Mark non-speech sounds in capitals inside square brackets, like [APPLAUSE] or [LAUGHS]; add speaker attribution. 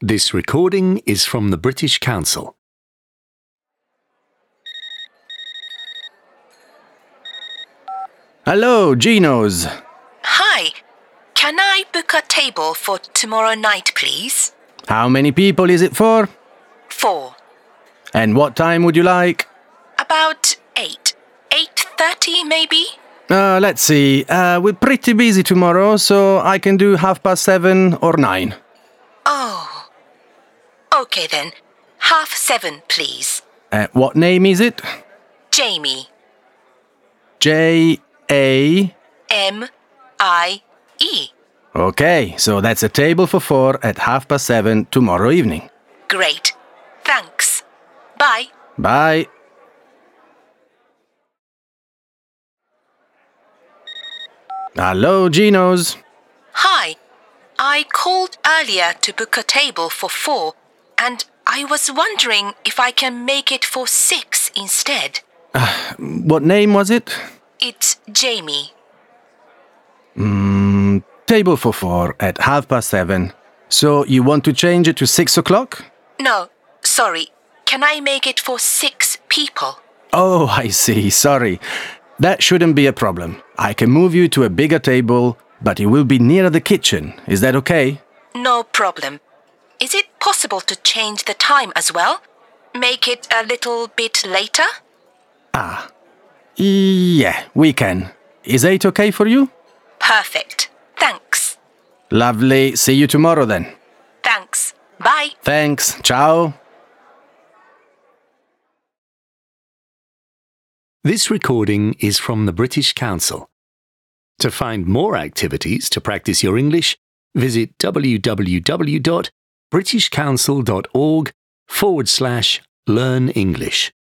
Speaker 1: This recording is from the British Council.
Speaker 2: Hello, Geno's.
Speaker 3: Hi. Can I book a table for tomorrow night, please?
Speaker 2: How many people is it for?
Speaker 3: Four.
Speaker 2: And what time would you like?
Speaker 3: About eight. Eight thirty, maybe?
Speaker 2: Uh, let's see. Uh, we're pretty busy tomorrow, so I can do half past seven or nine.
Speaker 3: Oh. Okay then. Half seven, please.
Speaker 2: Uh, what name is it?
Speaker 3: Jamie.
Speaker 2: J A.
Speaker 3: M. I. E.
Speaker 2: Okay, so that's a table for four at half past seven tomorrow evening.
Speaker 3: Great. Thanks. Bye.
Speaker 2: Bye. Hello, Geno's.
Speaker 3: Hi. I called earlier to book a table for four, and I was wondering if I can make it for six instead.
Speaker 2: What name was it?
Speaker 3: It's Jamie.
Speaker 2: Table for four at half past seven. So you want to change it to six o'clock?
Speaker 3: No, sorry. Can I make it for six people?
Speaker 2: Oh, [LAUGHS] I see. Sorry. That shouldn't be a problem. I can move you to a bigger table, but it will be nearer the kitchen. Is that okay?
Speaker 3: No problem. Is it possible to change the time as well? Make it a little bit later?
Speaker 2: Yeah, we can. Is eight okay for you?
Speaker 3: Perfect. Thanks.
Speaker 2: Lovely. See you tomorrow then.
Speaker 3: Thanks. Bye.
Speaker 2: Thanks. Ciao.
Speaker 1: This recording is from the British Council. To find more activities to practice your English, visit www.britishcouncil.org forward slash learn English.